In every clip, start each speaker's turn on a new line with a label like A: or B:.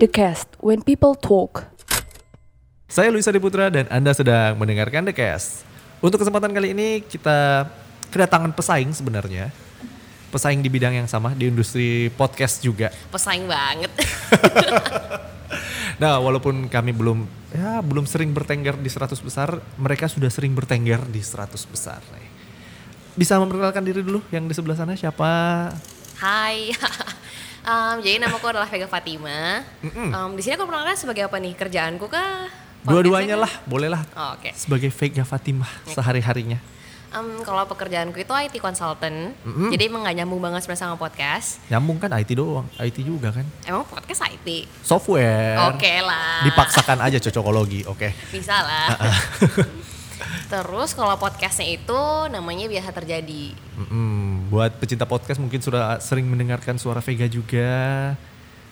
A: The Cast, When People Talk.
B: Saya Luisa Diputra dan Anda sedang mendengarkan The Cast. Untuk kesempatan kali ini kita kedatangan pesaing sebenarnya. Pesaing di bidang yang sama di industri podcast juga.
C: pesaing banget.
B: Nah, walaupun kami belum ya belum sering bertengger di 100 besar, mereka sudah sering bertengger di 100 besar. Bisa memperkenalkan diri dulu yang di sebelah sana siapa?
C: Hai. Em, jadi namaku adalah Vega Fatima. Em, di sini aku perkenalkan sebagai apa nih? Kerjaanku kah?
B: Dua-duanya
C: Podcastnya
B: lah, bolehlah.
C: kah? Oh, Oke.
B: Sebagai Vega Fatimah sehari-harinya.
C: Em, kalau pekerjaanku itu IT consultant. Jadi emang gak nyambung banget sebenarnya sama podcast.
B: Nyambung kan IT doang, IT juga kan.
C: Emang podcast IT?
B: Software.
C: Oke lah.
B: Dipaksakan aja cocokologi, oke.
C: Bisa lah.
B: Ah,
C: Terus kalau podcastnya itu namanya biasa terjadi.
B: Mm-mm. Buat pecinta podcast mungkin sudah sering mendengarkan suara Vega juga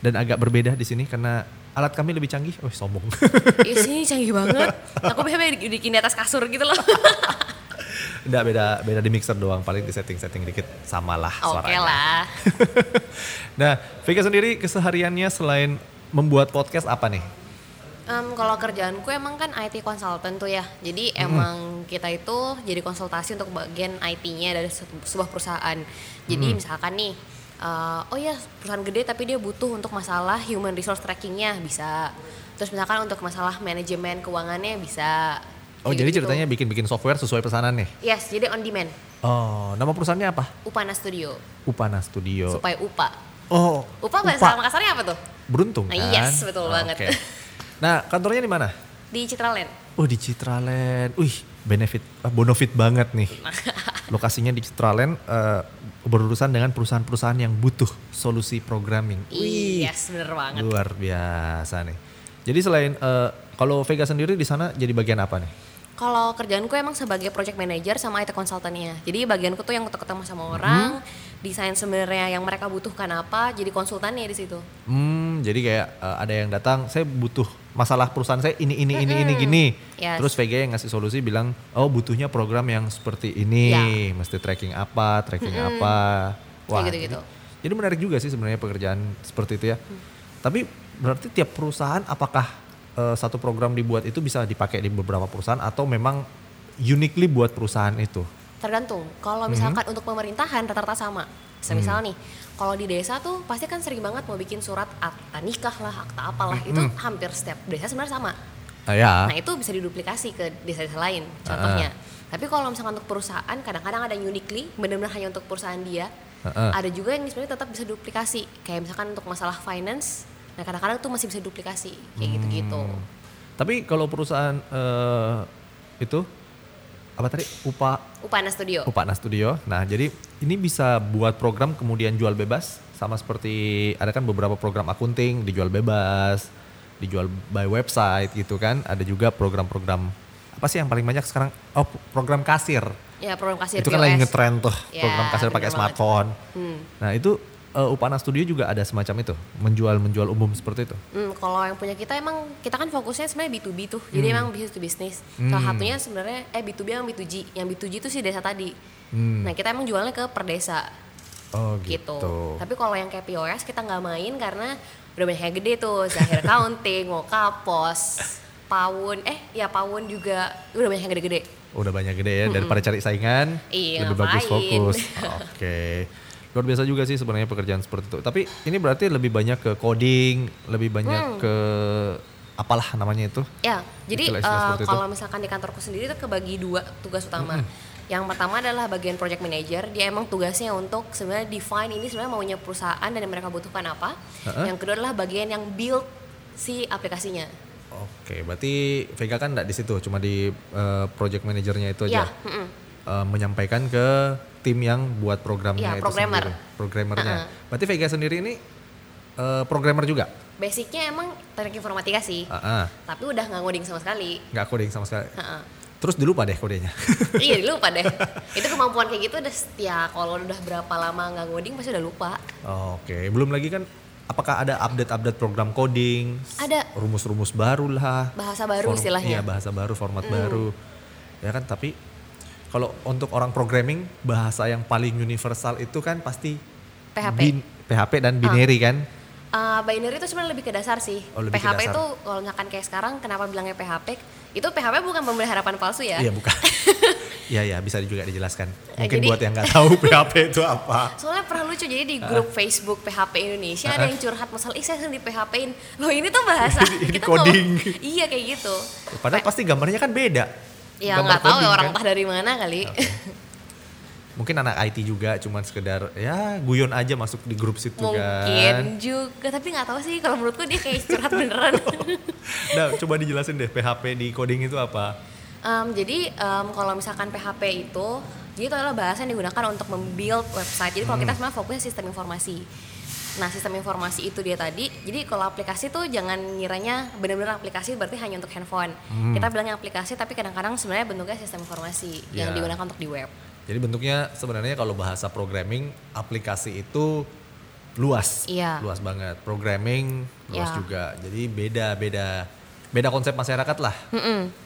B: dan agak berbeda di sini karena alat kami lebih canggih. Oh sombong.
C: Iya sih canggih banget. Aku biasa di- bikin di atas kasur gitu loh.
B: Nggak beda beda di mixer doang paling di setting-setting dikit samalah
C: Oke
B: suaranya.
C: lah.
B: nah Vega sendiri kesehariannya selain membuat podcast apa nih?
C: Em, kalau kerjaanku emang kan IT consultant tuh ya, jadi emang kita itu jadi konsultasi untuk bagian IT-nya dari se- sebuah perusahaan. Jadi misalkan nih, eh, oh ya perusahaan gede tapi dia butuh untuk masalah human resource tracking-nya bisa. Terus misalkan untuk masalah manajemen keuangannya bisa.
B: Oh
C: Kayak
B: jadi
C: gitu.
B: ceritanya bikin-bikin software sesuai pesanan nih.
C: Yes, jadi on demand.
B: Oh nama perusahaannya apa?
C: Upana Studio
B: Upana Studio.
C: supaya UPA.
B: Oh
C: UPA bahasa Makassarnya apa tuh?
B: Beruntung
C: Nah,
B: kan?
C: yes, betul banget.
B: Oke. Nah kantornya di mana?
C: Di Citraland.
B: Oh di Citraland, wih benefit, ah, bonofit banget nih. Lokasinya di Citraland eh, berurusan dengan perusahaan-perusahaan yang butuh solusi programming. Wih,
C: Yes, bener banget.
B: luar biasa nih. Jadi selain eh, kalau Vega sendiri di sana jadi bagian apa nih?
C: Kalau kerjaanku emang sebagai project manager sama IT consultantnya. Jadi bagianku tuh yang ketemu sama orang, desain sebenarnya yang mereka butuhkan apa, jadi konsultannya di situ.
B: Hmm, jadi kayak eh, ada yang datang, saya butuh masalah perusahaan saya ini ini ini ini gini.
C: Yes.
B: Terus Vega yang ngasih solusi bilang, "Oh, butuhnya program yang seperti ini, mesti tracking apa, tracking apa." Wah.
C: Ya. Kayak gitu-gitu. Mm.
B: Jadi, jadi menarik juga sih sebenarnya pekerjaan seperti itu ya. Tapi berarti tiap perusahaan apakah eh, satu program dibuat itu bisa dipakai di beberapa perusahaan atau memang uniquely buat perusahaan itu?
C: Tergantung. Kalau misalkan untuk pemerintahan rata-rata sama. Semisal nih, kalau di desa tuh pasti kan sering banget mau bikin surat akta nikah lah, akta apalah. Itu hampir setiap desa sebenarnya sama.
B: Ah, ya.
C: Nah, itu bisa diduplikasi ke desa-desa lain contohnya.
B: Ah.
C: Tapi kalau misalkan untuk perusahaan kadang-kadang ada yang uniquely benar-benar hanya untuk perusahaan dia.
B: Heeh.
C: Ada juga yang sebenarnya tetap bisa duplikasi. Kayak misalkan untuk masalah finance, nah kadang-kadang tuh masih bisa duplikasi kayak
B: Hmm.
C: gitu-gitu.
B: Tapi kalau perusahaan eh, itu apa tadi? Upah
C: Upana Studio.
B: Upana Studio. Nah, jadi ini bisa buat program kemudian jual bebas sama seperti ada kan beberapa program akunting dijual bebas, dijual by website gitu kan. Ada juga program-program apa sih yang paling banyak sekarang? Oh, program kasir.
C: Ya, program kasir
B: itu kan
C: POS.
B: lagi ngetren tuh
C: Ya,
B: program kasir
C: bener
B: pakai
C: banget. Hmm.
B: smartphone. Nah, itu eh, Upana Studio juga ada semacam itu, menjual-menjual umum seperti itu.
C: Hmm, kalau yang punya kita emang kita kan fokusnya sebenarnya B2B tuh. Jadi
B: Hmm.
C: emang business to business. Salah satunya sebenarnya eh B2B yang B2G. Yang B2G itu sih desa tadi.
B: Hmm.
C: Nah, kita emang jualnya ke per desa.
B: Oh,
C: gitu. Tapi kalau yang kayak POS kita nggak main karena udah banyak yang gede tuh, Zahir Counting, mau kapos, Pawun, eh ya Pawun juga udah banyak yang gede-gede.
B: udah banyak gede ya daripada cari saingan
C: Iya,
B: lebih bagus
C: ngapain?
B: fokus oke luar biasa juga sih sebenarnya pekerjaan seperti itu tapi ini berarti lebih banyak ke coding lebih banyak
C: Hmm.
B: ke apalah namanya itu
C: Ya, jadi
B: Istilah-istilah
C: eh,
B: seperti itu.
C: kalau misalkan di kantorku sendiri tuh kebagi dua tugas utama. Yang pertama adalah bagian project manager, dia emang tugasnya untuk sebenarnya define ini sebenarnya maunya perusahaan dan yang mereka butuhkan apa. Yang kedua adalah bagian yang build si aplikasinya.
B: oke berarti Vega kan nggak di situ cuma di eh, project manajernya itu aja
C: Ya, mm-mm.
B: Eh, menyampaikan ke tim yang buat programnya itu
C: Iya, programmer.
B: sendiri programmernya berarti Vega sendiri ini eh, programmer juga
C: basicnya emang teknik informatika sih,
B: Ah, ah.
C: tapi udah nggak ngoding sama sekali.
B: nggak coding sama sekali
C: Heeh.
B: terus dilupa deh kodenya
C: iya lupa deh itu kemampuan kayak gitu udah ya kalau udah berapa lama nggak ngoding pasti udah lupa
B: Oke, belum lagi kan apakah ada update-update program coding?
C: Ada.
B: Rumus-rumus baru lah.
C: Bahasa baru istilahnya. Hmm.
B: Iya, bahasa baru, format baru. Ya kan, tapi kalau untuk orang programming, bahasa yang paling universal itu kan pasti
C: PHP. Ah.
B: bin- PHP dan binary kan?
C: Eh, Eh, binary itu sebenarnya lebih ke dasar sih.
B: Oh, lebih ke
C: PHP
B: dasar.
C: itu kalau misalkan kayak sekarang kenapa bilangnya PHP? Itu PHP bukan pemberi harapan palsu ya.
B: Iya bukan. Iya ya bisa juga dijelaskan.
C: Eh,
B: Mungkin
C: jadi-
B: buat yang nggak tahu PHP itu apa.
C: Soalnya pernah lucu jadi di grup
B: Ah.
C: Facebook PHP Indonesia ada yang curhat masalah ih saya sering di PHP-in. Loh ini tuh bahasa
B: Ini
C: tuh nggak-
B: coding.
C: iya kayak gitu.
B: Padahal
C: Pe-
B: pasti gambarnya kan beda.
C: Ya
B: Gambar
C: nggak tahu ya
B: coding,
C: orang
B: kan?
C: entah dari mana kali.
B: Mungkin anak IT juga cuman sekedar ya guyon aja masuk di grup situ
C: Mungkin
B: kan.
C: juga tapi nggak tahu sih kalau menurutku dia kayak curhat beneran.
B: Nah, coba dijelasin deh PHP di coding itu apa?
C: Em, jadi em, kalau misalkan PHP itu jadi itu adalah bahasa yang digunakan untuk membuild website. Jadi kalau kita
B: Hmm.
C: sebenarnya fokusnya sistem informasi. Nah sistem informasi itu dia tadi. Jadi kalau aplikasi tuh jangan ngiranya benar-benar aplikasi berarti hanya untuk handphone.
B: Hmm.
C: Kita bilangnya aplikasi tapi kadang-kadang sebenarnya bentuknya sistem informasi yang
B: Ya.
C: digunakan untuk di web.
B: Jadi bentuknya sebenarnya kalau bahasa programming aplikasi itu luas,
C: Iya.
B: luas banget. Programming luas
C: Iya.
B: juga. Jadi beda beda beda konsep masyarakat lah.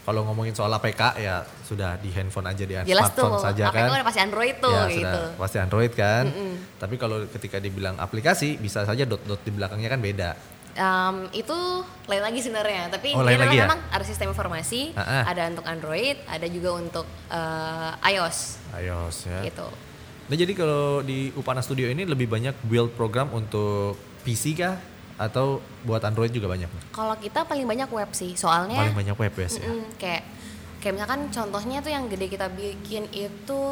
B: Kalau ngomongin soal APK ya sudah di handphone aja di
C: Jelas tuh.
B: smartphone saja
C: apa
B: kan.
C: itu udah pasti Android tuh
B: ya
C: gitu.
B: sudah pasti Android kan. Tapi kalau ketika dibilang aplikasi bisa saja dot dot di belakangnya kan beda.
C: Em, itu lain lagi sebenarnya tapi
B: Oh,
C: ini
B: lain lagi ya?
C: memang ada sistem informasi
B: Ah, ah.
C: ada untuk Android ada juga untuk eh, iOS
B: iOS ya.
C: gitu
B: Nah jadi kalau di Upana Studio ini lebih banyak build program untuk PC kah atau buat Android juga banyak?
C: kalau kita paling banyak web sih soalnya
B: Paling banyak web ya.
C: mm-mm, kayak kayak misalkan contohnya tuh yang gede kita bikin itu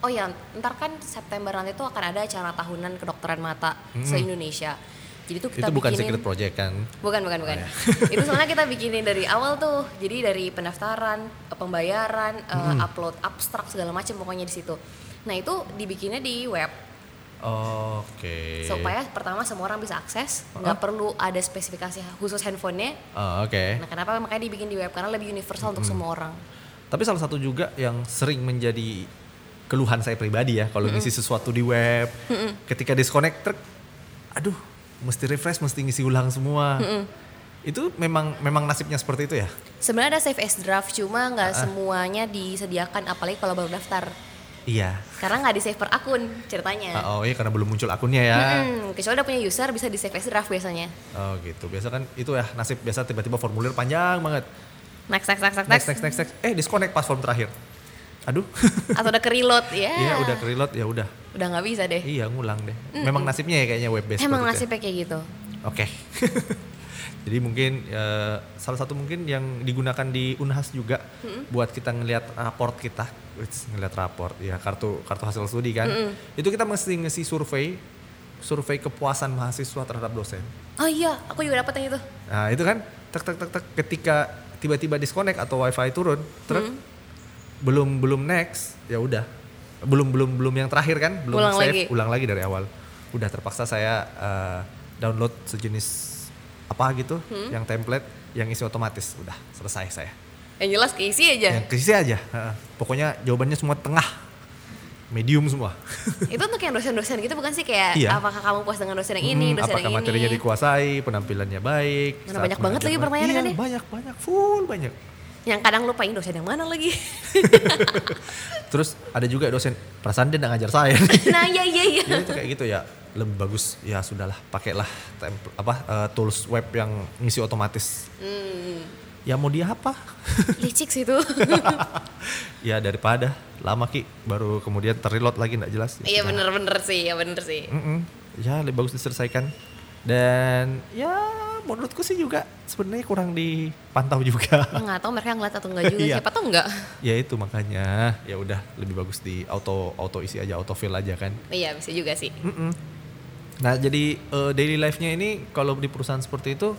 C: oh ya ntar kan September nanti tuh akan ada acara tahunan kedokteran mata se Indonesia jadi tuh
B: Hmm.
C: kita
B: itu bukan
C: bikinin-
B: secret iya. project kan?
C: Bukan, bukan, bukan. itu sebenarnya kita bikinin dari awal tuh. Jadi dari pendaftaran, eh, pembayaran, eh,
B: Hmm.
C: upload abstrak segala macam pokoknya di situ. Nah, itu dibikinnya di web
B: Oke.
C: supaya pertama semua orang bisa akses, nggak perlu ada spesifikasi khusus handphonenya.
B: Ah, Oke.
C: Nah, kenapa makanya dibikin di web? Karena lebih universal untuk semua orang.
B: Tapi salah satu juga yang sering menjadi keluhan saya pribadi ya kalau ngisi sesuatu di web, ketika disconnect, trek, aduh, mesti refresh, mesti ngisi ulang semua. Itu memang memang nasibnya seperti itu ya.
C: Sebenarnya ada save as draft,
B: Ah,
C: cuma nggak semuanya disediakan apalagi kalau baru daftar.
B: Iya.
C: Karena nggak di save per akun ceritanya.
B: Ah, Oh iya karena belum muncul akunnya ya.
C: Mm-mm, kecuali udah punya user bisa di save as draft biasanya.
B: Oh gitu. Biasa kan itu ya nasib biasa tiba-tiba formulir panjang banget.
C: Next, next, next, next,
B: Next next next next. Eh disconnect pas form terakhir. Aduh.
C: atau udah ke reload ya
B: Iya udah ke reload ya udah.
C: udah nggak bisa deh
B: Iya ngulang deh. Memang nasibnya ya kayaknya web based.
C: emang nasibnya kayak gitu
B: Oke. Jadi mungkin eh, salah satu mungkin yang digunakan di Unhas juga buat kita ngelihat raport kita, Wits, ngelihat raport ya kartu kartu hasil studi kan. Itu kita mesti ngisi survei survei kepuasan mahasiswa terhadap dosen.
C: oh iya aku juga dapat yang itu
B: Nah, itu kan tek tek tek tek ketika tiba-tiba disconnect atau wifi turun, truk
C: Hmm.
B: belum belum next, ya udah. Belum belum belum yang terakhir kan, belum
C: Ulang
B: save,
C: lagi.
B: ulang lagi dari awal. Udah terpaksa saya eh, download sejenis apa gitu
C: Hmm.
B: yang template yang isi otomatis. Udah, selesai saya.
C: yang jelas keisi aja
B: Yang keisi aja. heeh. Pokoknya jawabannya semua tengah. Medium semua.
C: itu untuk yang dosen-dosen gitu bukan sih kayak
B: Iya.
C: apakah kamu puas dengan dosen yang Nah, ini
B: Hmm,
C: dosen
B: apakah
C: yang
B: materinya
C: ini
B: dikuasai, penampilannya baik.
C: Karena
B: saat
C: banyak banget lagi
B: mengajar-
C: pertanyaan
B: iya,
C: kan ya?
B: banyak banyak full banyak.
C: yang kadang lupain dosen yang mana lagi
B: Terus ada juga dosen, perasaan dia nggak ngajar saya. nih."
C: nah iya iya iya
B: Jadi itu kayak gitu ya, lebih bagus ya sudahlah pakailah temp- apa eh, tools web yang ngisi otomatis. Ya mau dia apa?
C: licik sih itu
B: ya daripada lama ki baru kemudian terreload lagi nggak jelas. Ya,
C: iya
B: sudah.
C: bener-bener sih ya bener sih
B: Mm-mm. Ya lebih bagus diselesaikan. Dan ya menurutku sih juga sebenarnya kurang dipantau juga.
C: nggak tahu mereka ngeliat atau enggak juga
B: Iya.
C: siapa tahu enggak
B: ya itu makanya ya udah lebih bagus di auto auto isi aja auto fill aja kan.
C: iya bisa juga sih
B: Mm-mm. Nah, jadi eh, daily life-nya ini kalau di perusahaan seperti itu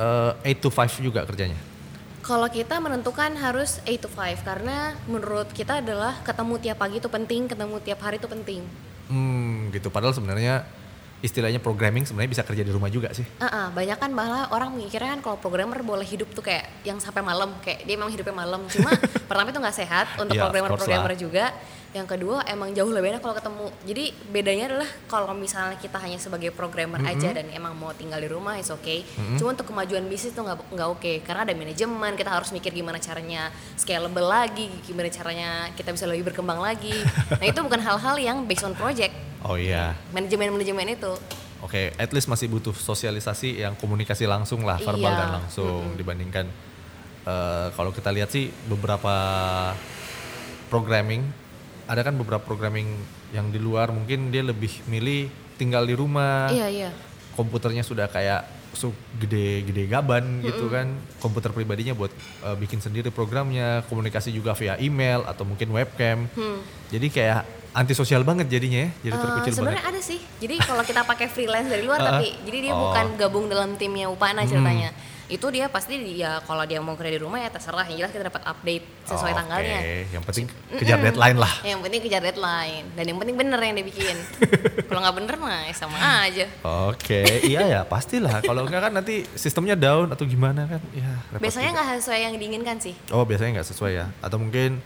B: eh 8 to 5 juga kerjanya.
C: Kalau kita menentukan harus 8 to 5 karena menurut kita adalah ketemu tiap pagi itu penting, ketemu tiap hari itu penting.
B: Hmm, gitu. Padahal sebenarnya istilahnya programming sebenarnya bisa kerja di rumah juga sih.
C: Ah, ah, banyak kan malah orang mikirnya kan kalau programmer boleh hidup tuh kayak yang sampai malam, kayak dia memang hidupnya malam. Cuma pertama itu nggak sehat untuk
B: Iya, of course
C: programmer-programmer
B: lah.
C: juga. Yang kedua emang jauh lebih enak kalau ketemu. Jadi bedanya adalah kalau misalnya kita hanya sebagai programmer aja dan emang mau tinggal di rumah is okay. Cuma untuk kemajuan bisnis tuh nggak nggak oke karena ada manajemen, kita harus mikir gimana caranya scalable lagi, gimana caranya kita bisa lebih berkembang lagi. nah itu bukan hal-hal yang based on project
B: Oh iya.
C: manajemen manajemen itu.
B: Oke, at least masih butuh sosialisasi yang komunikasi langsung lah, verbal
C: Iya.
B: dan langsung dibandingkan eh, kalau kita lihat sih beberapa programming ada kan beberapa programming yang di luar mungkin dia lebih milih tinggal di rumah,
C: Iya iya.
B: komputernya sudah kayak su- gede-gede gaban gitu kan, komputer pribadinya buat eh, bikin sendiri programnya, komunikasi juga via email atau mungkin webcam, jadi kayak antisosial banget jadinya ya, jadi
C: Hmm. Eh,
B: terkucil banget.
C: Sebenarnya ada sih. Jadi kalau kita pakai freelance dari luar tapi jadi dia
B: Oh. Hmm.
C: bukan gabung dalam timnya Upana ceritanya. Itu dia pasti dia kalau dia mau kerja di rumah ya terserah. Yang jelas kita dapat update sesuai
B: Oke,
C: tanggalnya.
B: Yang penting kejar deadline lah.
C: Yang penting kejar deadline dan yang penting bener yang dibikin. kalau nggak bener mah ya sama
B: Hmm.
C: aja.
B: Oke, iya ya pastilah. Kalau enggak kan nanti sistemnya down atau gimana kan? Ya. repot
C: Biasanya
B: juga.
C: nggak sesuai yang diinginkan sih.
B: Oh biasanya nggak sesuai ya? Atau mungkin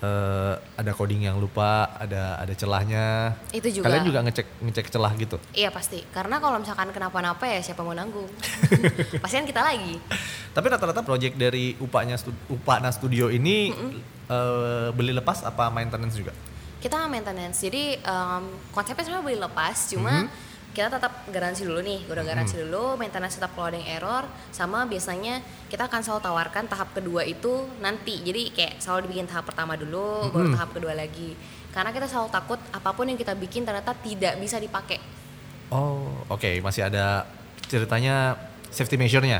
B: eh, ada coding yang lupa, ada ada celahnya.
C: Itu juga.
B: Kalian juga ngecek ngecek celah gitu.
C: Iya pasti. Karena kalau misalkan kenapa-napa ya siapa mau nanggung? Pastian kita lagi.
B: Tapi rata-rata project dari upahnya Stud- Upana Studio ini eh, beli lepas apa maintenance juga?
C: Kita maintenance. Jadi em, konsepnya sebenarnya boleh lepas, cuma kita tetap garansi dulu nih. Udah garansi dulu, maintenance tetap kalau ada yang error sama biasanya kita akan selalu tawarkan tahap kedua itu nanti. Jadi kayak selalu dibikin tahap pertama dulu, baru tahap kedua lagi. Karena kita selalu takut apapun yang kita bikin ternyata tidak bisa dipakai.
B: Oh, oke masih ada ceritanya safety measure-nya.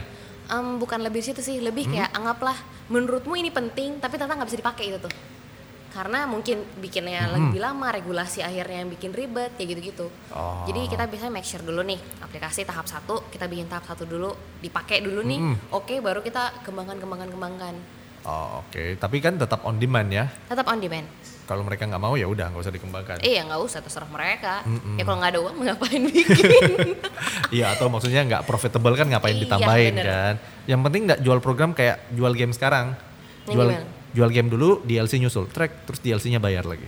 C: Em, bukan lebih situ sih, lebih kayak anggaplah menurutmu ini penting tapi ternyata nggak bisa dipakai itu tuh. Karena mungkin bikinnya lebih lama, regulasi akhirnya yang bikin ribet ya gitu-gitu.
B: Oh.
C: Jadi kita biasanya make sure dulu nih aplikasi tahap satu kita bikin tahap satu dulu, dipakai dulu nih. Oke, baru kita kembangkan kembangkan kembangkan.
B: Oh, oke, tapi kan tetap on demand ya.
C: Tetap on demand.
B: Kalau mereka nggak mau ya udah nggak usah dikembangkan.
C: Eh ya nggak usah terserah mereka. Ya kalau nggak ada uang ngapain bikin?
B: Iya atau maksudnya nggak profitable kan ngapain
C: Iya,
B: ditambahin
C: bener.
B: kan? Yang penting nggak jual program kayak jual game sekarang,
C: Yang
B: jual
C: gimana?
B: jual game dulu DLC nyusul track terus DLC-nya bayar lagi,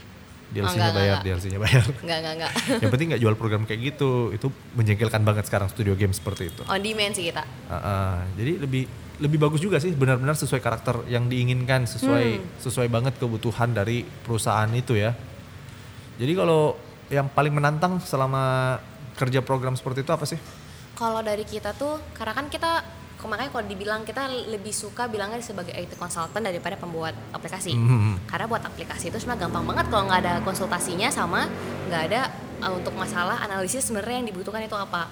B: DLC-nya
C: enggak,
B: bayar,
C: enggak.
B: DLC-nya bayar.
C: Oh, Nggak nggak nggak.
B: Yang penting nggak jual program kayak gitu, itu menjengkelkan banget sekarang studio game seperti itu.
C: On demand sih kita.
B: Heeh, jadi lebih lebih bagus juga sih benar-benar sesuai karakter yang diinginkan sesuai sesuai banget kebutuhan dari perusahaan itu ya jadi kalau yang paling menantang selama kerja program seperti itu apa sih
C: kalau dari kita tuh karena kan kita makanya kalau dibilang kita lebih suka bilangnya sebagai IT consultant daripada pembuat aplikasi
B: Mhm.
C: karena buat aplikasi itu sebenarnya gampang banget kalau nggak ada konsultasinya sama nggak ada uh, untuk masalah analisis sebenarnya yang dibutuhkan itu apa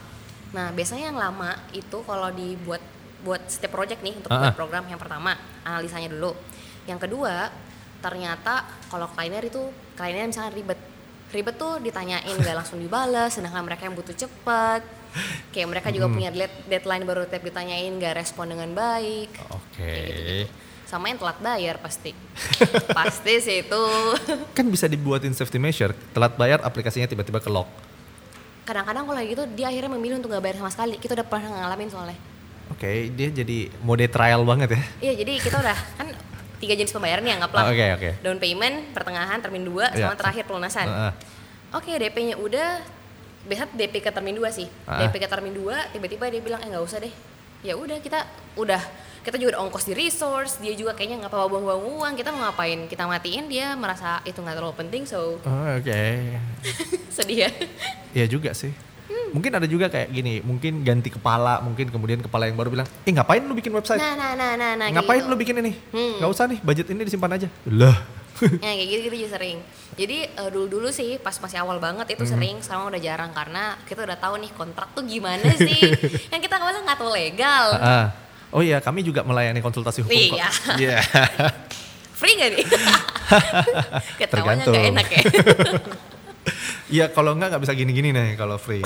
C: nah biasanya yang lama itu kalau dibuat buat setiap project nih untuk
B: Ah, ah.
C: buat program yang pertama analisanya dulu yang kedua ternyata kalau kliner itu kliennya misalnya ribet ribet tuh ditanyain nggak langsung dibales sedangkan mereka yang butuh cepet kayak mereka juga
B: Hmm.
C: punya dead- deadline baru tiap ditanyain nggak respon dengan baik
B: oke
C: Kayak gitu-gitu. sama yang telat bayar pasti pasti sih itu
B: kan bisa dibuatin safety measure telat bayar aplikasinya tiba-tiba ke lock
C: kadang-kadang kalau kayak gitu dia akhirnya memilih untuk nggak bayar sama sekali kita udah pernah ngalamin soalnya
B: oke dia jadi mode trial banget ya
C: iya jadi kita udah kan tiga jenis pembayaran nih anggaplah
B: Oh, oke, oke.
C: down payment pertengahan termin dua sama
B: Iya.
C: terakhir pelunasan
B: Heeh.
C: Oke, DP-nya udah. Biasa DP ke termin 2 sih.
B: Ah.
C: DP ke termin 2, tiba-tiba dia bilang, "Eh, nggak usah deh." Ya udah, kita udah kita juga ada ongkos di resource, dia juga kayaknya nggak apa-apa buang-buang uang, kita mau ngapain? Kita matiin dia merasa itu nggak terlalu penting, so
B: Oh, oke
C: sedih ya.
B: Iya juga sih. Mungkin ada juga kayak gini, mungkin ganti kepala, mungkin kemudian kepala yang baru bilang, eh ngapain lu bikin website?
C: Nah, nah, nah, nah, nah kayak
B: Ngapain
C: gitu.
B: lu bikin ini?
C: Hmm.
B: Nggak usah nih, budget ini disimpan aja. Lah.
C: ya kayak gitu gitu juga sering jadi eh, dulu-dulu sih pas masih awal banget
B: Hmm.
C: itu sering sekarang udah jarang karena kita udah tahu nih kontrak tuh gimana sih yang kita awalnya nggak tahu legal
B: Ah. Oh iya, kami juga melayani konsultasi hukum kok.
C: Iya.
B: Iya.
C: free gak nih ketawanya
B: Tergantung.
C: nggak enak ya
B: Iya, kalau enggak nggak bisa gini-gini nih kalau free.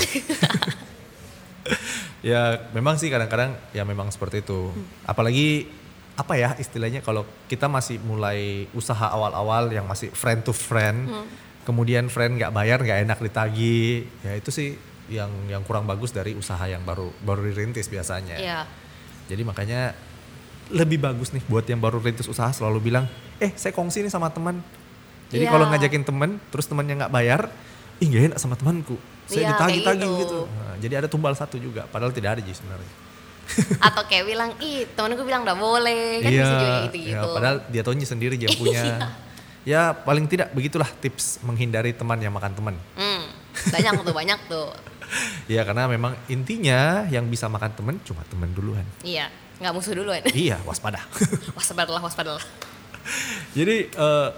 B: ya, memang sih kadang-kadang ya memang seperti itu. Apalagi apa ya istilahnya kalau kita masih mulai usaha awal-awal yang masih friend to friend, kemudian friend nggak bayar nggak enak ditagi, ya itu sih yang yang kurang bagus dari usaha yang baru baru dirintis biasanya.
C: Iya.
B: Jadi makanya lebih bagus nih buat yang baru rintis usaha selalu bilang, eh saya kongsi nih sama teman. Jadi
C: Iya.
B: kalau ngajakin teman, terus temannya nggak bayar, ih nggak enak sama temanku. Saya
C: Iya,
B: ditagi-tagi
C: kayak
B: gitu.
C: gitu.
B: Nah, jadi ada tumbal satu juga, padahal tidak ada sih sebenarnya.
C: atau kayak bilang ih temen gue bilang nggak boleh kan bisa juga Iya. gitu
B: iya,
C: gitu
B: padahal dia tahunya sendiri dia punya. ya paling tidak begitulah tips menghindari teman yang makan teman.
C: hmm, banyak tuh banyak tuh
B: ya karena memang intinya yang bisa makan temen cuma temen duluan.
C: Iya, nggak musuh duluan.
B: Iya waspada.
C: waspadalah, waspadalah.
B: Jadi eh,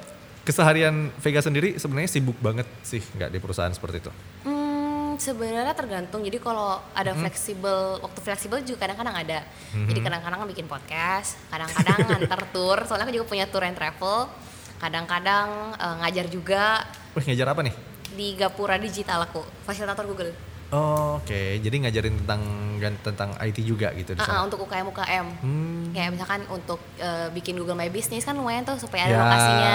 B: keseharian Vega sendiri sebenarnya sibuk banget sih nggak di perusahaan seperti itu.
C: Hmm, sebenarnya tergantung. Jadi kalau ada
B: Hmm.
C: fleksibel, waktu fleksibel juga kadang-kadang ada. Jadi kadang-kadang bikin podcast, kadang-kadang nganter tour. Soalnya aku juga punya tour and travel. Kadang-kadang eh, ngajar juga
B: Wih ngajar apa nih?
C: di Gapura Digital aku, fasilitator Google.
B: Oh, Oke, jadi ngajarin tentang gan- tentang IT juga gitu di
C: Ah, ah,
B: sana.
C: untuk UKM UKM.
B: Hmm.
C: Kayak misalkan untuk eh, bikin Google My Business kan lumayan tuh supaya ada
B: Ya.
C: lokasinya.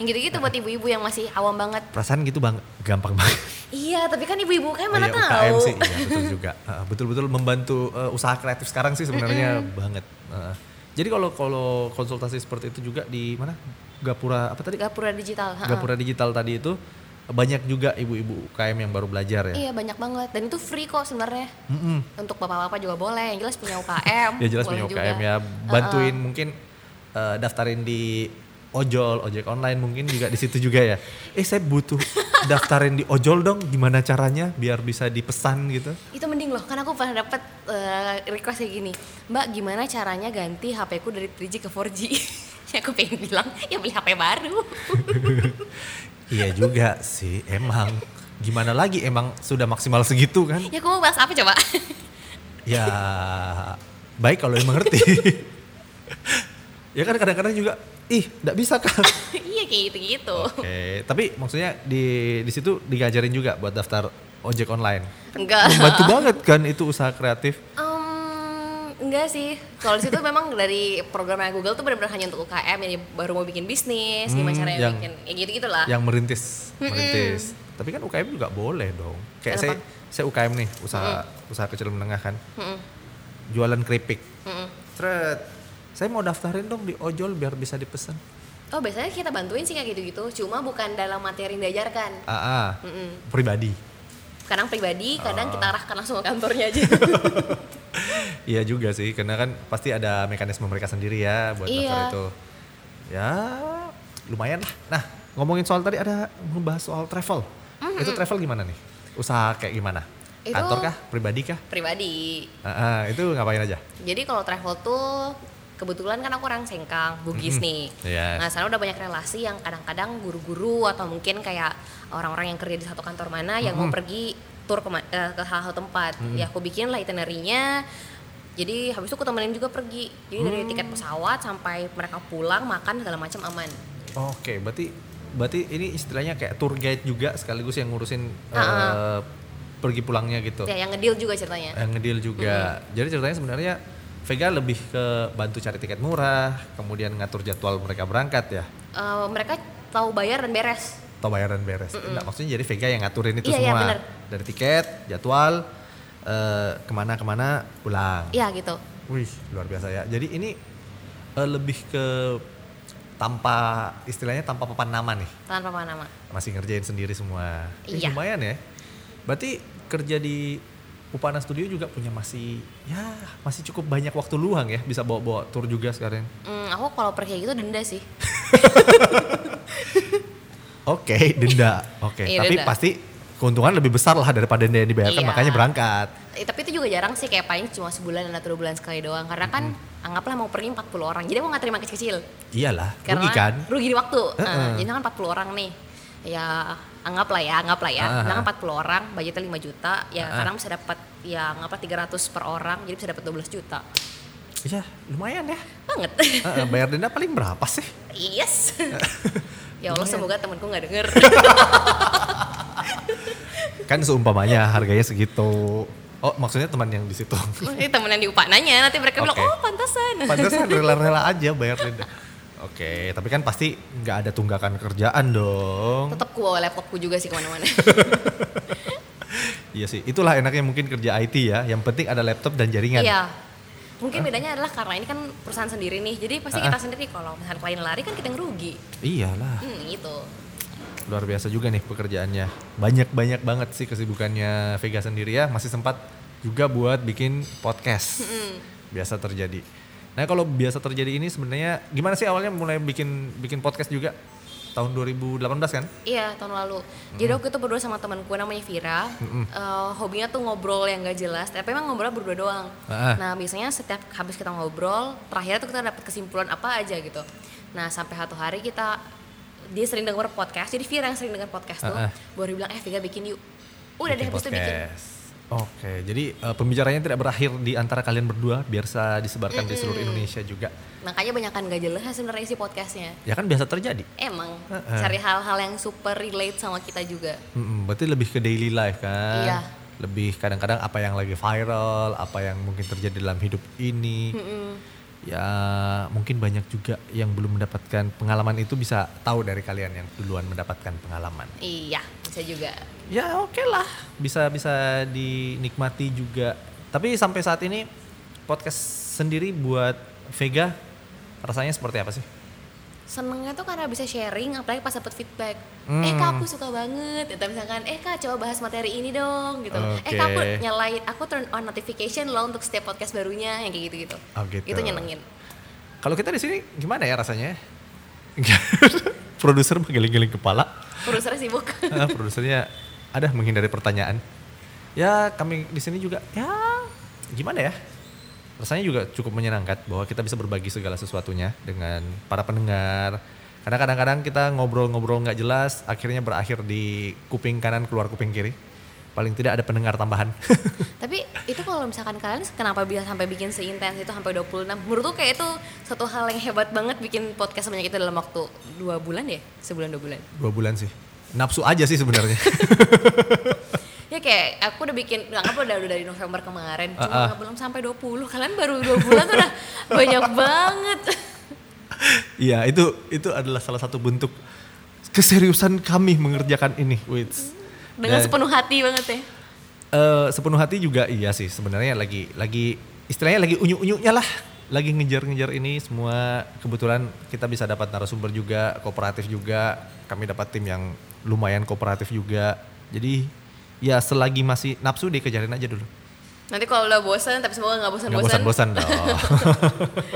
C: Yang gitu-gitu buat ibu-ibu yang masih awam banget.
B: Perasaan gitu bang, gampang banget.
C: Iya, tapi kan ibu-ibu UKM
B: Oh
C: mana
B: iya,
C: tahu.
B: UKM sih, iya betul juga. Ah, Betul-betul membantu eh, usaha kreatif sekarang sih sebenarnya banget. Ah. jadi kalau kalau konsultasi seperti itu juga di mana? Gapura apa tadi?
C: Gapura Digital. ha-ha.
B: Gapura digital tadi itu banyak juga ibu-ibu UKM yang baru belajar ya.
C: Iya banyak banget dan itu free kok sebenarnya
B: Mm-mm.
C: untuk bapak-bapak juga boleh yang jelas punya UKM
B: Ya jelas punya
C: boleh juga.
B: UKM ya. Bantuin mungkin eh, daftarin di ojol, ojek online mungkin juga di situ juga ya. Eh saya butuh daftarin di ojol dong, gimana caranya biar bisa dipesan gitu?
C: itu mending loh karena aku pernah dapet eh, request kayak gini mbak gimana caranya ganti HP ku dari 3G ke 4G ya aku pengen bilang ya beli HP baru
B: Iya juga sih, emang. Gimana lagi emang sudah maksimal segitu kan?
C: ya aku mau bahas apa coba
B: Ya baik kalau yang mengerti. ya kan kadang-kadang juga ih nggak bisa kan.
C: iya kayak gitu gitu
B: Oke, tapi maksudnya di di situ digajarin juga buat daftar ojek online.
C: enggak
B: Membantu banget kan itu usaha kreatif.
C: Em, enggak sih kalau di situ memang dari programnya Google tuh benar-benar hanya untuk UKM yang baru mau bikin bisnis gimana
B: Hmm,
C: caranya
B: yang-
C: bikin ya gitu gitulah
B: yang merintis merintis tapi kan UKM juga boleh dong kayak saya saya UKM nih usaha usaha kecil menengah kan jualan keripik Tret, saya mau daftarin dong di ojol biar bisa dipesan
C: Oh biasanya kita bantuin sih kayak gitu-gitu, cuma bukan dalam materi yang diajarkan.
B: aa Ah, pribadi
C: Kadang pribadi,
B: Ah.
C: kadang kita arahkan langsung ke kantornya aja.
B: iya juga sih karena kan pasti ada mekanisme mereka sendiri ya buat daftar
C: Iya.
B: itu ya lumayan lah nah ngomongin soal tadi ada ngebahas soal travel itu travel gimana nih usaha kayak gimana
C: Itu-
B: kantor kah pribadi kah
C: pribadi.
B: Ah, ah, itu ngapain aja?
C: Jadi kalau travel tuh kebetulan kan aku orang Sengkang, Bugis nih.
B: Iya.
C: Nah, sana udah banyak relasi yang kadang-kadang guru-guru atau mungkin kayak orang-orang yang kerja di satu kantor mana yang mau pergi tur ke, ke hal-hal tempat. Ya aku bikin lah itinerary-nya. Jadi habis itu aku temenin juga pergi. Jadi dari tiket pesawat sampai mereka pulang, makan segala macam aman.
B: Oke, berarti berarti ini istilahnya kayak tour guide juga sekaligus yang ngurusin eh, pergi pulangnya gitu.
C: Ya yang ngedeal juga ceritanya.
B: Yang ngedeal juga. Jadi ceritanya sebenarnya Vega lebih ke bantu cari tiket murah, kemudian ngatur jadwal mereka berangkat ya.
C: Eh, mereka tahu bayar dan beres.
B: Atau bayaran beres. Enggak, maksudnya jadi Vega yang ngaturin itu
C: Iya, iya,
B: semua.
C: bener.
B: Dari tiket, jadwal, eh, kemana-kemana, pulang.
C: Iya gitu.
B: Wih, luar biasa ya. Jadi ini eh, lebih ke tanpa istilahnya tanpa papan nama nih.
C: Tanpa apa nama.
B: masih ngerjain sendiri semua. Eh,
C: Iya.
B: lumayan ya. Berarti kerja di Upana Studio juga punya masih ya masih cukup banyak waktu luang ya bisa bawa-bawa tour juga sekarang.
C: Hmm, aku kalau pergi kayak gitu denda sih.
B: Oke, denda. Oke,
C: Iya,
B: tapi
C: denda.
B: pasti keuntungan lebih besar lah daripada denda yang dibayarkan
C: Iya.
B: makanya berangkat.
C: Eh, tapi itu juga jarang sih kayak paling cuma sebulan atau dua bulan sekali doang. Karena kan anggaplah mau pergi 40 orang. Jadi aku nggak terima kecil-kecil.
B: Iyalah, Hmm.
C: Karena
B: rugi kan?
C: Rugi di waktu. Nah,
B: Heeh.
C: jadi kan 40 orang nih. Ya anggaplah ya, anggaplah ya.
B: Ah,
C: Misalkan
B: ah.
C: 40 orang, budgetnya 5 juta, ya
B: Ah, ah.
C: kadang bisa dapat ya anggaplah 300 per orang, jadi bisa dapat 12 juta.
B: Iya, lumayan ya.
C: Banget.
B: Eh, eh, bayar denda paling berapa sih?
C: yes. ya Allah
B: Lumayan.
C: semoga temanku nggak denger.
B: Kan seumpamanya harganya segitu. Oh, maksudnya teman yang di situ.
C: Ini temen yang di UPA nanya, nanti mereka bilang,
B: Oke.
C: oh pantesan.
B: Pantesan rela-rela aja bayar denda. Oke, tapi kan pasti nggak ada tunggakan kerjaan dong.
C: Tetap ku bawa laptopku juga sih kemana-mana.
B: Iya sih, itulah enaknya mungkin kerja IT ya. Yang penting ada laptop dan jaringan.
C: iya. Mungkin bedanya adalah karena ini kan perusahaan sendiri nih, jadi pasti kita sendiri kalau misalnya klien lari kan kita yang rugi.
B: Iyalah,
C: Hmm, gitu.
B: luar biasa juga nih pekerjaannya. Banyak-banyak banget sih kesibukannya Vega sendiri ya. Masih sempat juga buat bikin podcast. Biasa terjadi. Nah kalau biasa terjadi ini sebenarnya gimana sih awalnya mulai bikin bikin podcast juga? tahun 2018 kan?
C: Iya tahun lalu. Jadi aku itu berdua sama temanku namanya Vira. Eh, hobinya tuh ngobrol yang gak jelas. Tapi emang ngobrol berdua doang.
B: Ah.
C: Nah biasanya setiap habis kita ngobrol, terakhir tuh kita dapat kesimpulan apa aja gitu. Nah sampai satu hari kita dia sering denger podcast. Jadi Vira yang sering denger podcast tuh,
B: Ah, ah.
C: baru bilang eh Vira bikin yuk. Udah
B: Bikin
C: deh habis itu bikin.
B: podcast. Oke, jadi eh, pembicaranya tidak berakhir di antara kalian berdua, biasa disebarkan di seluruh Indonesia juga.
C: Makanya banyak kan gak jelas sebenarnya isi podcastnya.
B: Ya kan biasa terjadi.
C: Emang
B: Ah, ah.
C: cari hal-hal yang super relate sama kita juga.
B: Mm-mm, berarti lebih ke daily life kan?
C: Iya.
B: Lebih kadang-kadang apa yang lagi viral, apa yang mungkin terjadi dalam hidup ini. Ya mungkin banyak juga yang belum mendapatkan pengalaman itu bisa tahu dari kalian yang duluan mendapatkan pengalaman.
C: Iya bisa juga.
B: Ya oke lah, bisa bisa dinikmati juga. Tapi sampai saat ini podcast sendiri buat Vega rasanya seperti apa sih?
C: senengnya tuh karena bisa sharing apalagi pas dapet feedback
B: Hmm.
C: eh kak aku suka banget atau misalkan eh kak coba bahas materi ini dong gitu eh kak aku
B: Oke.
C: nyalain aku turn on notification loh untuk setiap podcast barunya yang kayak gitu gitu
B: Oh, gitu.
C: itu nyenengin
B: Kalau kita di sini gimana ya rasanya? Produser menggeling-geling kepala.
C: produsernya sibuk
B: Ah, produsernya ada menghindari pertanyaan. Ya kami di sini juga ya gimana ya? Rasanya juga cukup menyenangkan bahwa kita bisa berbagi segala sesuatunya dengan para pendengar. Karena kadang-kadang kita ngobrol-ngobrol nggak jelas, akhirnya berakhir di kuping kanan keluar kuping kiri. Paling tidak ada pendengar tambahan.
C: tapi itu kalau misalkan kalian kenapa bisa sampai bikin seintens itu sampai 26 menurut tuh kayak itu satu hal yang hebat banget bikin podcast sebanyak itu dalam waktu dua bulan ya sebulan dua bulan
B: Dua bulan sih. Nafsu aja sih sebenarnya.
C: Ya kayak aku udah bikin, anggap udah, udah dari November kemarin, cuma
B: Ah, ah.
C: belum sampai 20, kalian baru 2 bulan tuh udah banyak banget.
B: Iya, itu itu adalah salah satu bentuk keseriusan kami mengerjakan ini. Wits.
C: Dengan
B: Dan-
C: sepenuh hati banget ya.
B: Eh, sepenuh hati juga iya sih sebenarnya lagi lagi istilahnya lagi unyu-unyunya lah lagi ngejar-ngejar ini semua kebetulan kita bisa dapat narasumber juga kooperatif juga kami dapat tim yang lumayan kooperatif juga jadi ya selagi masih nafsu dikejarin aja dulu
C: Nanti kalau udah bosan, tapi semoga nggak
B: nggak
C: bosan-bosan.
B: bosan-bosan dong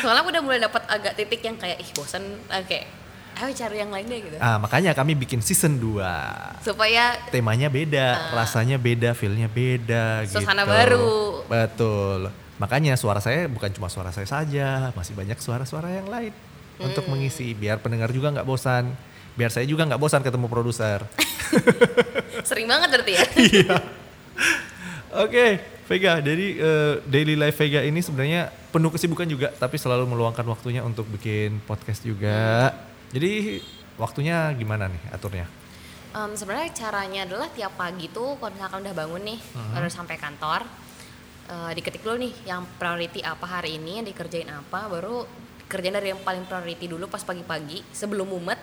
C: Soalnya aku udah mulai dapat agak titik yang kayak, ih bosan, ah, kayak ayo cari yang lain deh gitu.
B: ah, makanya kami bikin season 2
C: Supaya
B: temanya beda rasanya beda feelnya beda
C: Ah.
B: gitu.
C: Suasana baru.
B: betul makanya suara saya bukan cuma suara saya saja masih banyak suara-suara yang lain untuk
C: Hmm.
B: mengisi biar pendengar juga nggak bosan biar saya juga nggak bosan ketemu produser
C: sering banget berarti ya.
B: oke Vega dari eh, daily life Vega ini sebenarnya penuh kesibukan juga tapi selalu meluangkan waktunya untuk bikin podcast juga
C: Hmm.
B: jadi waktunya gimana nih aturnya
C: Em, sebenarnya caranya adalah tiap pagi tuh kalau misalkan udah bangun nih udah sampai kantor eh, diketik dulu nih yang priority apa hari ini yang dikerjain apa baru kerjain dari yang paling priority dulu pas pagi-pagi sebelum mumet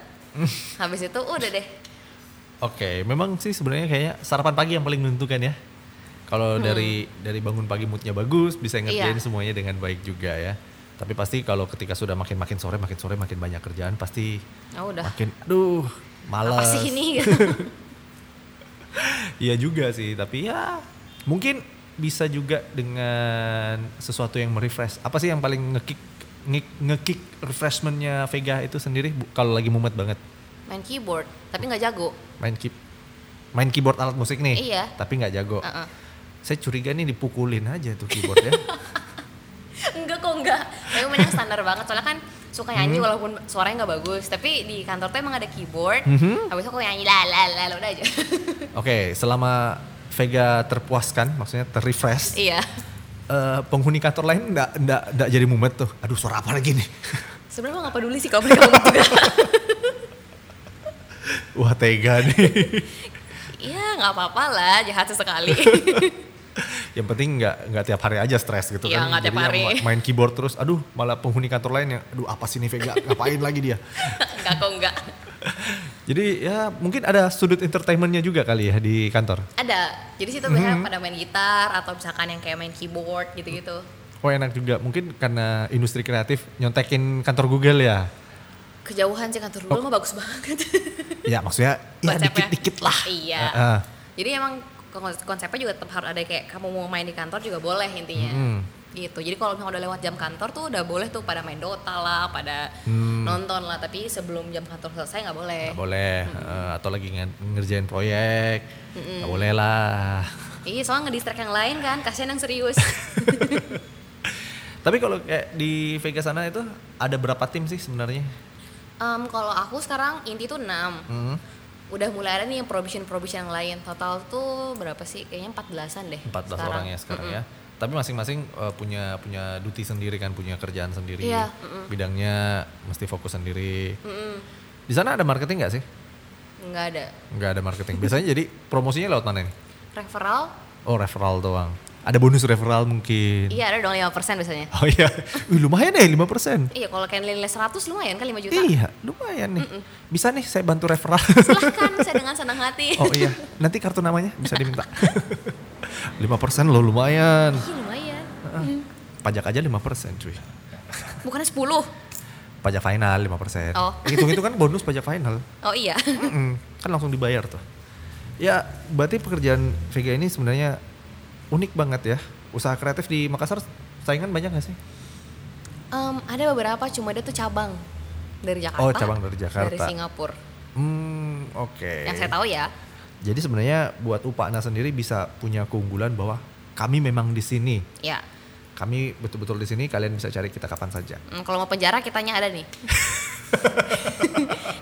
C: habis itu udah deh
B: Oke, memang sih sebenarnya kayaknya sarapan pagi yang paling menentukan ya. Kalau dari dari bangun pagi moodnya bagus, bisa ngerjain
C: Hmm. Iya.
B: semuanya dengan baik juga ya. Tapi pasti kalau ketika sudah makin makin sore, makin sore makin banyak kerjaan, pasti
C: Ah, udah
B: makin, aduh,
C: apa
B: malas.
C: sih ini
B: Iya juga sih, tapi ya mungkin bisa juga dengan sesuatu yang merefresh. Apa sih yang paling ngekick nge- ngekick refreshmentnya Vega itu sendiri? Bu- Kalau lagi mumet banget,
C: main keyboard tapi nggak jago
B: main keep main keyboard alat musik nih,
C: Iya.
B: tapi nggak jago.
C: Heeh.
B: Saya curiga nih dipukulin aja tuh keyboardnya.
C: enggak kok enggak tapi main yang standar banget soalnya kan suka nyanyi walaupun suaranya nggak bagus tapi di kantor tuh emang ada keyboard habis itu aku nyanyi la la la la, udah aja
B: Oke, selama Vega terpuaskan, maksudnya terrefresh,
C: iya
B: eh, penghuni kantor lain ndak ndak ndak jadi mumet tuh. Aduh, suara apa lagi nih?
C: sebenarnya aku nggak peduli sih kalau mereka ngomong juga
B: Wah, tega nih.
C: Iya nggak apa-apa lah jahat sesekali.
B: yang penting nggak nggak tiap hari aja stres gitu
C: Iya,
B: kan.
C: nggak tiap
B: Jadinya
C: hari.
B: ma- main keyboard terus, aduh, malah penghuni kantor lain yang aduh apa sih nih Vega? Ngapain lagi dia?
C: enggak kok enggak.
B: Jadi ya mungkin ada sudut entertainmentnya juga kali ya di kantor.
C: Ada. Jadi situ
B: Mm-hmm.
C: biasanya pada main gitar atau misalkan yang kayak main keyboard gitu-gitu.
B: Oh enak juga, mungkin karena industri kreatif nyontekin kantor Google ya.
C: Kejauhan sih kantor gue mah bagus banget.
B: Ya maksudnya ya
C: Konsepnya.
B: Oh. dikit-dikit lah.
C: Iya.
B: Heeh.
C: Jadi emang kon- konsepnya juga tetap harus ada kayak kamu mau main di kantor juga boleh intinya.
B: Hmm.
C: gitu jadi kalau misalnya udah lewat jam kantor tuh udah boleh tuh pada main Dota lah pada nonton lah tapi sebelum jam kantor selesai nggak boleh
B: Hmm. Nggak boleh. Eh, atau lagi nge- ngerjain proyek. Nggak boleh lah.
C: iya soalnya ngedistract yang lain kan kasihan yang serius
B: Tapi kalau kayak di Vegas sana itu ada berapa tim sih sebenarnya?
C: Em, kalau aku sekarang inti tuh 6
B: Hmm,
C: udah mulai ada nih yang provision provision yang lain total tuh berapa sih kayaknya 14an deh
B: 14 orang ya sekarang ya. Tapi masing-masing eh, punya punya duty sendiri kan, punya kerjaan sendiri.
C: Iya,
B: Bidangnya mesti fokus sendiri.
C: Mm-mm.
B: Di sana ada marketing nggak sih?
C: nggak ada
B: Nggak ada marketing. Biasanya jadi promosinya lewat mana nih?
C: referral
B: Oh referral doang. Ada bonus referral mungkin.
C: iya ada dong 5% biasanya
B: Oh iya, Wih, lumayan ya 5%. persen.
C: iya kalau kalian nilai 100 lumayan kan 5 juta
B: Iya, lumayan nih. Bisa nih saya bantu referral.
C: silahkan saya dengan senang hati
B: oh iya, nanti kartu namanya bisa diminta. 5% loh lumayan.
C: Iya, lumayan
B: Pajak aja 5% cuy.
C: bukannya 10
B: Pajak final 5%.
C: Oh.
B: Hitung-hitung kan bonus pajak final.
C: oh iya
B: Mm-mm. Kan langsung dibayar tuh. Ya, berarti pekerjaan VGA ini sebenarnya unik banget ya. Usaha kreatif di Makassar saingan banyak gak sih?
C: Em, ada beberapa cuma dia tuh cabang dari Jakarta
B: Oh, cabang dari Jakarta.
C: dari Singapura
B: Hmm, oke.
C: yang saya tahu ya
B: Jadi sebenarnya buat Upakna sendiri bisa punya keunggulan bahwa kami memang di sini.
C: ya
B: Kami betul-betul di sini, kalian bisa cari kita kapan saja.
C: Hmm, kalau mau penjara kitanya ada nih.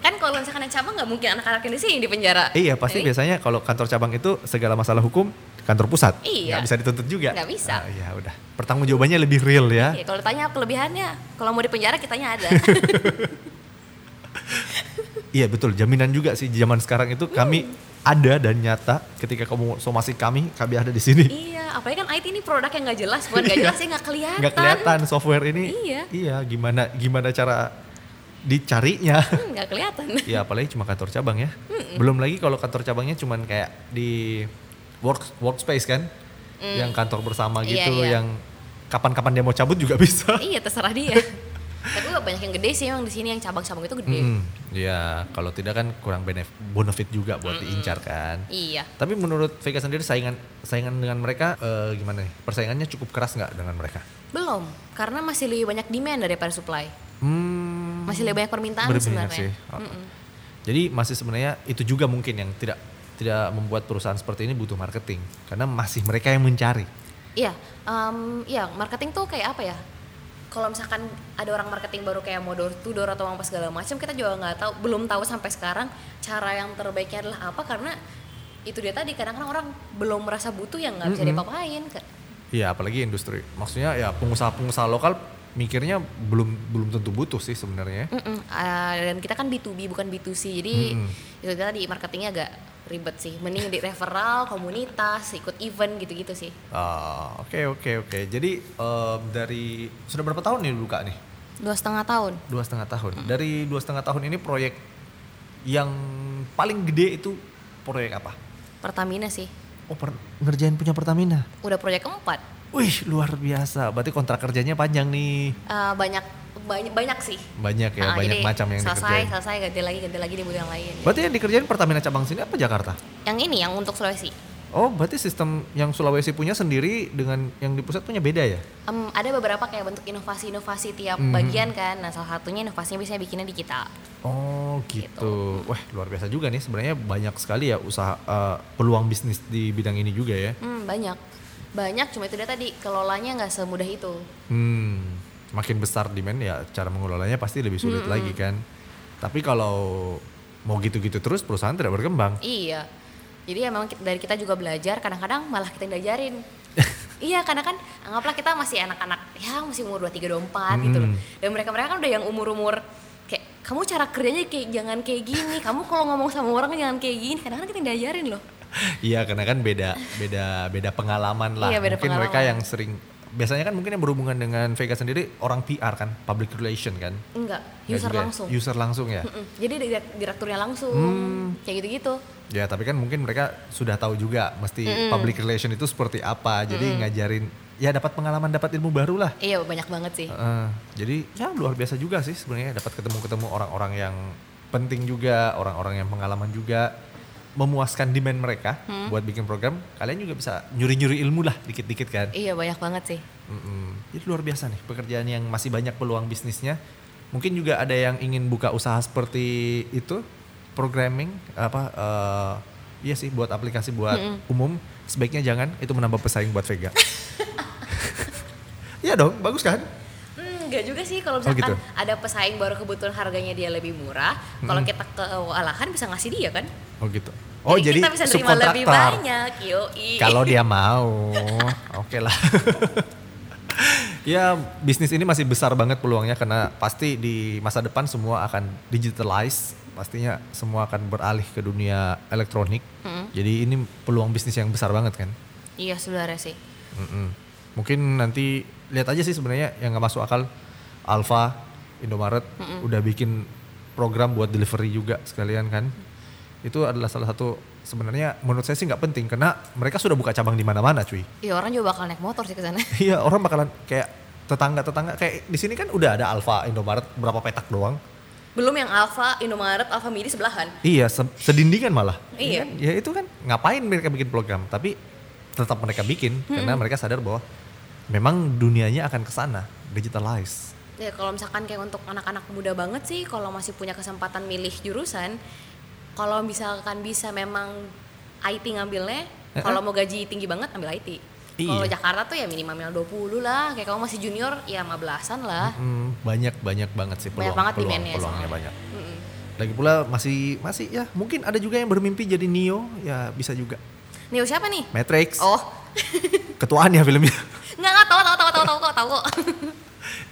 C: kan kalau misalkan yang cabang nggak mungkin anak-anak yang di sini di penjara.
B: Eh, iya, pasti
C: Jadi,
B: biasanya kalau kantor cabang itu segala masalah hukum kantor pusat.
C: Iya.
B: Nggak bisa dituntut juga.
C: Nggak
B: Ah,
C: bisa.
B: iya, udah. Pertanggung jawabannya lebih real ya.
C: iya, kalau tanya kelebihannya, kalau mau di penjara kitanya ada.
B: Iya, betul. Jaminan juga sih zaman sekarang itu kami
C: Hmm.
B: ada dan nyata ketika kamu somasi kami, kami ada di sini.
C: iya, apalagi kan IT ini produk yang nggak jelas, bukan nggak
B: Iya.
C: jelas ya nggak kelihatan.
B: Nggak kelihatan software ini.
C: Iya.
B: gimana gimana cara dicarinya?
C: Hmm, Nggak kelihatan.
B: ya apalagi cuma kantor cabang ya. Belum lagi kalau kantor cabangnya cuman kayak di work workspace kan, yang kantor bersama
C: Mm. Iya,
B: gitu,
C: iya.
B: yang kapan-kapan dia mau cabut juga bisa.
C: iya, terserah dia. Tapi nggak banyak yang gede sih emang di sini yang cabang-cabang itu gede.
B: Mm, Iya, kalau tidak kan kurang benef- benefit juga buat diincar kan.
C: Iya.
B: Tapi menurut Vega sendiri saingan saingan dengan mereka eh, gimana nih? Persaingannya cukup keras nggak dengan mereka?
C: Belum, karena masih lebih banyak demand daripada supply.
B: Hmm,
C: Masih lebih banyak permintaan
B: Berminat
C: sebenarnya.
B: sih. Oh. Jadi masih sebenarnya itu juga mungkin yang tidak tidak membuat perusahaan seperti ini butuh marketing karena masih mereka yang mencari.
C: Iya, em iya marketing tuh kayak apa ya? Kalau misalkan ada orang marketing baru kayak mau door to door atau apa segala macam, kita juga nggak tahu, belum tahu sampai sekarang cara yang terbaiknya adalah apa karena itu dia tadi kadang-kadang orang belum merasa butuh yang nggak bisa diapa-apain. Ke-
B: Iya, apalagi industri. Maksudnya ya pengusaha-pengusaha lokal mikirnya belum belum tentu butuh sih sebenarnya.
C: Mm-mm, eh, dan kita kan B2B bukan B2C, jadi itu dia tadi marketingnya agak ribet sih. Mending di referral, komunitas, ikut event gitu-gitu sih.
B: Ah, Oke oke oke. Jadi em, dari sudah berapa tahun nih buka nih?
C: Dua setengah tahun.
B: Dua setengah tahun. Dari dua setengah tahun ini proyek yang paling gede itu proyek apa?
C: Pertamina sih,
B: Oh per- ngerjain punya Pertamina.
C: udah proyek keempat.
B: Wih luar biasa. Berarti kontrak kerjanya panjang nih.
C: Eh, banyak banyak banyak sih
B: Banyak ya,
C: Ah,
B: banyak
C: jadi
B: macam yang
C: selesai,
B: dikerjain.
C: selesai ganti lagi ganti lagi di bulan yang lain
B: Berarti yang dikerjain Pertamina cabang sini apa Jakarta?
C: yang ini yang untuk Sulawesi
B: Oh berarti sistem yang Sulawesi punya sendiri dengan yang di pusat punya beda ya?
C: Em, ada beberapa kayak bentuk inovasi-inovasi tiap
B: Mhm.
C: bagian kan nah salah satunya inovasinya biasanya bikinnya di kita
B: Oh gitu. Wah luar biasa juga nih sebenarnya banyak sekali ya usaha eh, peluang bisnis di bidang ini juga ya.
C: hmm, banyak banyak cuma itu dia tadi kelolanya nggak semudah itu
B: Hmm, makin besar demand ya cara mengelolanya pasti lebih sulit
C: Hmm.
B: lagi kan. Tapi kalau mau gitu-gitu terus perusahaan tidak berkembang.
C: iya jadi ya memang kita- dari kita juga belajar kadang-kadang malah kita yang diajarin iya karena kan anggaplah kita masih anak-anak ya masih umur 23 24 gitu
B: Hmm.
C: loh dan mereka-mereka kan udah yang umur-umur kayak kamu cara kerjanya kayak jangan kayak gini kamu kalau ngomong sama orang jangan kayak gini kadang-kadang kita yang diajarin loh
B: Iya karena kan beda beda beda pengalaman lah.
C: Iya, beda
B: mungkin mereka
C: pengalaman.
B: yang sering biasanya kan mungkin yang berhubungan dengan Vega sendiri orang PR kan, public relation kan.
C: Enggak,
B: Nggak
C: user
B: juga ya?
C: langsung.
B: User langsung ya.
C: Mm-mm. Jadi direk- direkturnya langsung,
B: Hmm.
C: kayak gitu-gitu.
B: Ya tapi kan mungkin mereka sudah tahu juga mesti public relation itu seperti apa. Jadi ngajarin ya dapat pengalaman, dapat ilmu baru lah.
C: Iya banyak banget sih.
B: Heeh. jadi ya luar biasa juga sih sebenarnya dapat ketemu-ketemu orang-orang yang penting juga, orang-orang yang pengalaman juga. memuaskan demand mereka buat bikin program, kalian juga bisa nyuri-nyuri ilmu lah dikit-dikit kan.
C: Iya banyak banget sih.
B: Mm-mm. Jadi luar biasa nih pekerjaan yang masih banyak peluang bisnisnya. Mungkin juga ada yang ingin buka usaha seperti itu, programming apa? eh, iya sih buat aplikasi buat umum sebaiknya jangan itu menambah pesaing buat Vega. Iya dong, bagus kan?
C: Hmm, enggak juga sih kalau
B: gitu.
C: misalkan ada pesaing baru kebetulan harganya dia lebih murah, kalau kita kewalahan bisa ngasih dia kan.
B: Oh gitu. Hmm. Oh jadi,
C: kita bisa terima
B: subkontraktor.
C: lebih banyak, yoi.
B: Kalau dia mau, oke lah. ya bisnis ini masih besar banget peluangnya karena pasti di masa depan semua akan digitalize. Pastinya semua akan beralih ke dunia elektronik. Jadi ini peluang bisnis yang besar banget kan.
C: Iya sebenarnya sih.
B: Mm-mm. Mungkin nanti lihat aja sih sebenarnya yang nggak masuk akal Alfa, Indomaret udah bikin program buat delivery juga sekalian kan. Itu adalah salah satu sebenarnya menurut saya sih nggak penting karena mereka sudah buka cabang di mana-mana cuy.
C: Iya orang juga bakal naik motor sih ke sana.
B: Iya orang bakalan kayak tetangga-tetangga kayak di sini kan udah ada Alfa, Indomaret berapa petak doang.
C: Belum yang Alfa, Indomaret, Alfa Midi sebelahan.
B: Iya, se- sedindingan malah.
C: Iya.
B: kan? Ya itu kan ngapain mereka bikin program, tapi tetap mereka bikin karena mereka sadar bahwa memang dunianya akan ke sana, digitalize.
C: Ya kalau misalkan kayak untuk anak-anak muda banget sih kalau masih punya kesempatan milih jurusan, kalau misalkan bisa memang IT ngambilnya, kalau mau gaji tinggi banget ambil IT. Kalau
B: Eh, Iya.
C: Jakarta tuh ya minimal minimal 20 lah, kayak kamu masih junior ya 15-an lah.
B: Hmm, banyak banyak banget sih peluang.
C: Banyak banget
B: peluang,
C: demand-nya
B: peluangnya
C: soalnya.
B: banyak. Lagi pula masih masih ya mungkin ada juga yang bermimpi jadi Neo, ya bisa juga.
C: Neo siapa nih?
B: Matrix,
C: Oh,
B: ketuaan ya filmnya.
C: nggak nggak tahu tahu tahu tahu tahu kok tahu kok.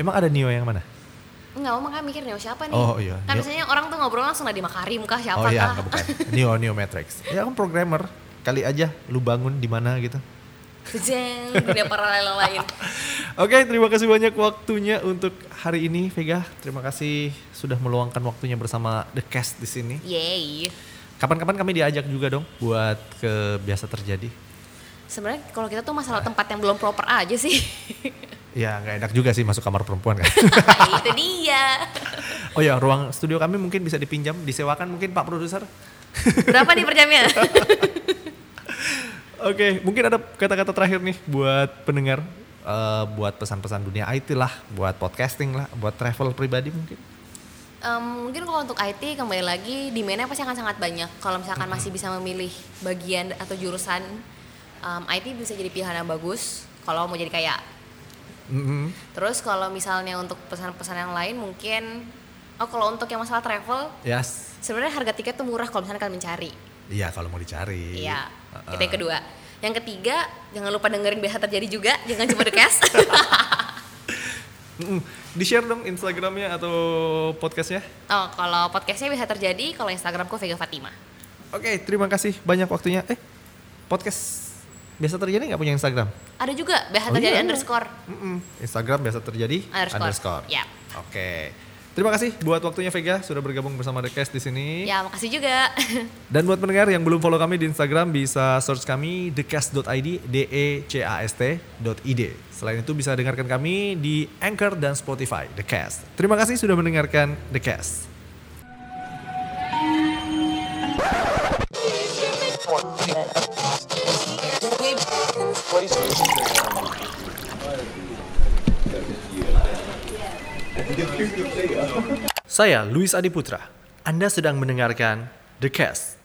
B: Emang ada Neo yang mana?
C: Nggak mau makanya mikir Neo siapa nih?
B: Oh, iya.
C: Kan
B: Neo-
C: biasanya orang tuh ngobrol langsung Nadiem Makarim kah siapa
B: oh iya,
C: kah?
B: enggak, bukan. Neo Neo Matrix. Ya kan programmer, kali aja lu bangun di mana gitu.
C: Jeng, dunia paralel lain.
B: Oke, terima kasih banyak waktunya untuk hari ini Vega. Terima kasih sudah meluangkan waktunya bersama The Cast di sini.
C: Yeay.
B: Kapan-kapan kami diajak juga dong buat ke biasa terjadi.
C: Sebenarnya kalau kita tuh masalah tempat yang belum proper aja sih.
B: Ya nggak enak juga sih masuk kamar perempuan kan.
C: Nah, Itu dia.
B: oh ya, ruang studio kami mungkin bisa dipinjam, disewakan mungkin Pak Produser.
C: Berapa nih per jamnya?
B: Oke, mungkin ada kata-kata terakhir nih buat pendengar, Eh, buat pesan-pesan dunia IT lah, buat podcasting lah, buat travel pribadi mungkin.
C: Em, mungkin kalau untuk IT kembali lagi demand-nya pasti akan sangat banyak. Kalau misalkan masih bisa memilih bagian atau jurusan em, IT bisa jadi pilihan yang bagus kalau mau jadi kaya. Mm-hmm.
B: Mm-mm.
C: Terus kalau misalnya untuk pesan-pesan yang lain mungkin oh kalau untuk yang masalah travel
B: Yes.
C: sebenarnya harga tiket tuh murah kalau misalnya kalian mencari.
B: Iya kalau mau dicari.
C: Iya.
B: Heeh.
C: Itu yang kedua. Yang ketiga, jangan lupa dengerin biasa terjadi juga, jangan cuma the cast.
B: Mm-mm. Di share dong Instagramnya atau podcastnya.
C: oh, kalau podcastnya bisa terjadi, kalau Instagramku Vega Fatima.
B: Oke, terima kasih banyak waktunya. Eh, podcast biasa terjadi nggak punya Instagram?
C: Ada juga biasa
B: Oh,
C: terjadi
B: iya.
C: underscore.
B: Mm-mm. Instagram biasa terjadi
C: Underscore. Ya. Yap.
B: Oke, terima kasih buat waktunya Vega sudah bergabung bersama The Cast di sini.
C: Ya, makasih juga.
B: Dan buat pendengar yang belum follow kami di Instagram bisa search kami thecast.id d e c a s t dot id. Selain itu bisa dengarkan kami di Anchor dan Spotify The Cast. Terima kasih sudah mendengarkan The Cast. Saya Luis Adiputra. Anda sedang mendengarkan The Cast.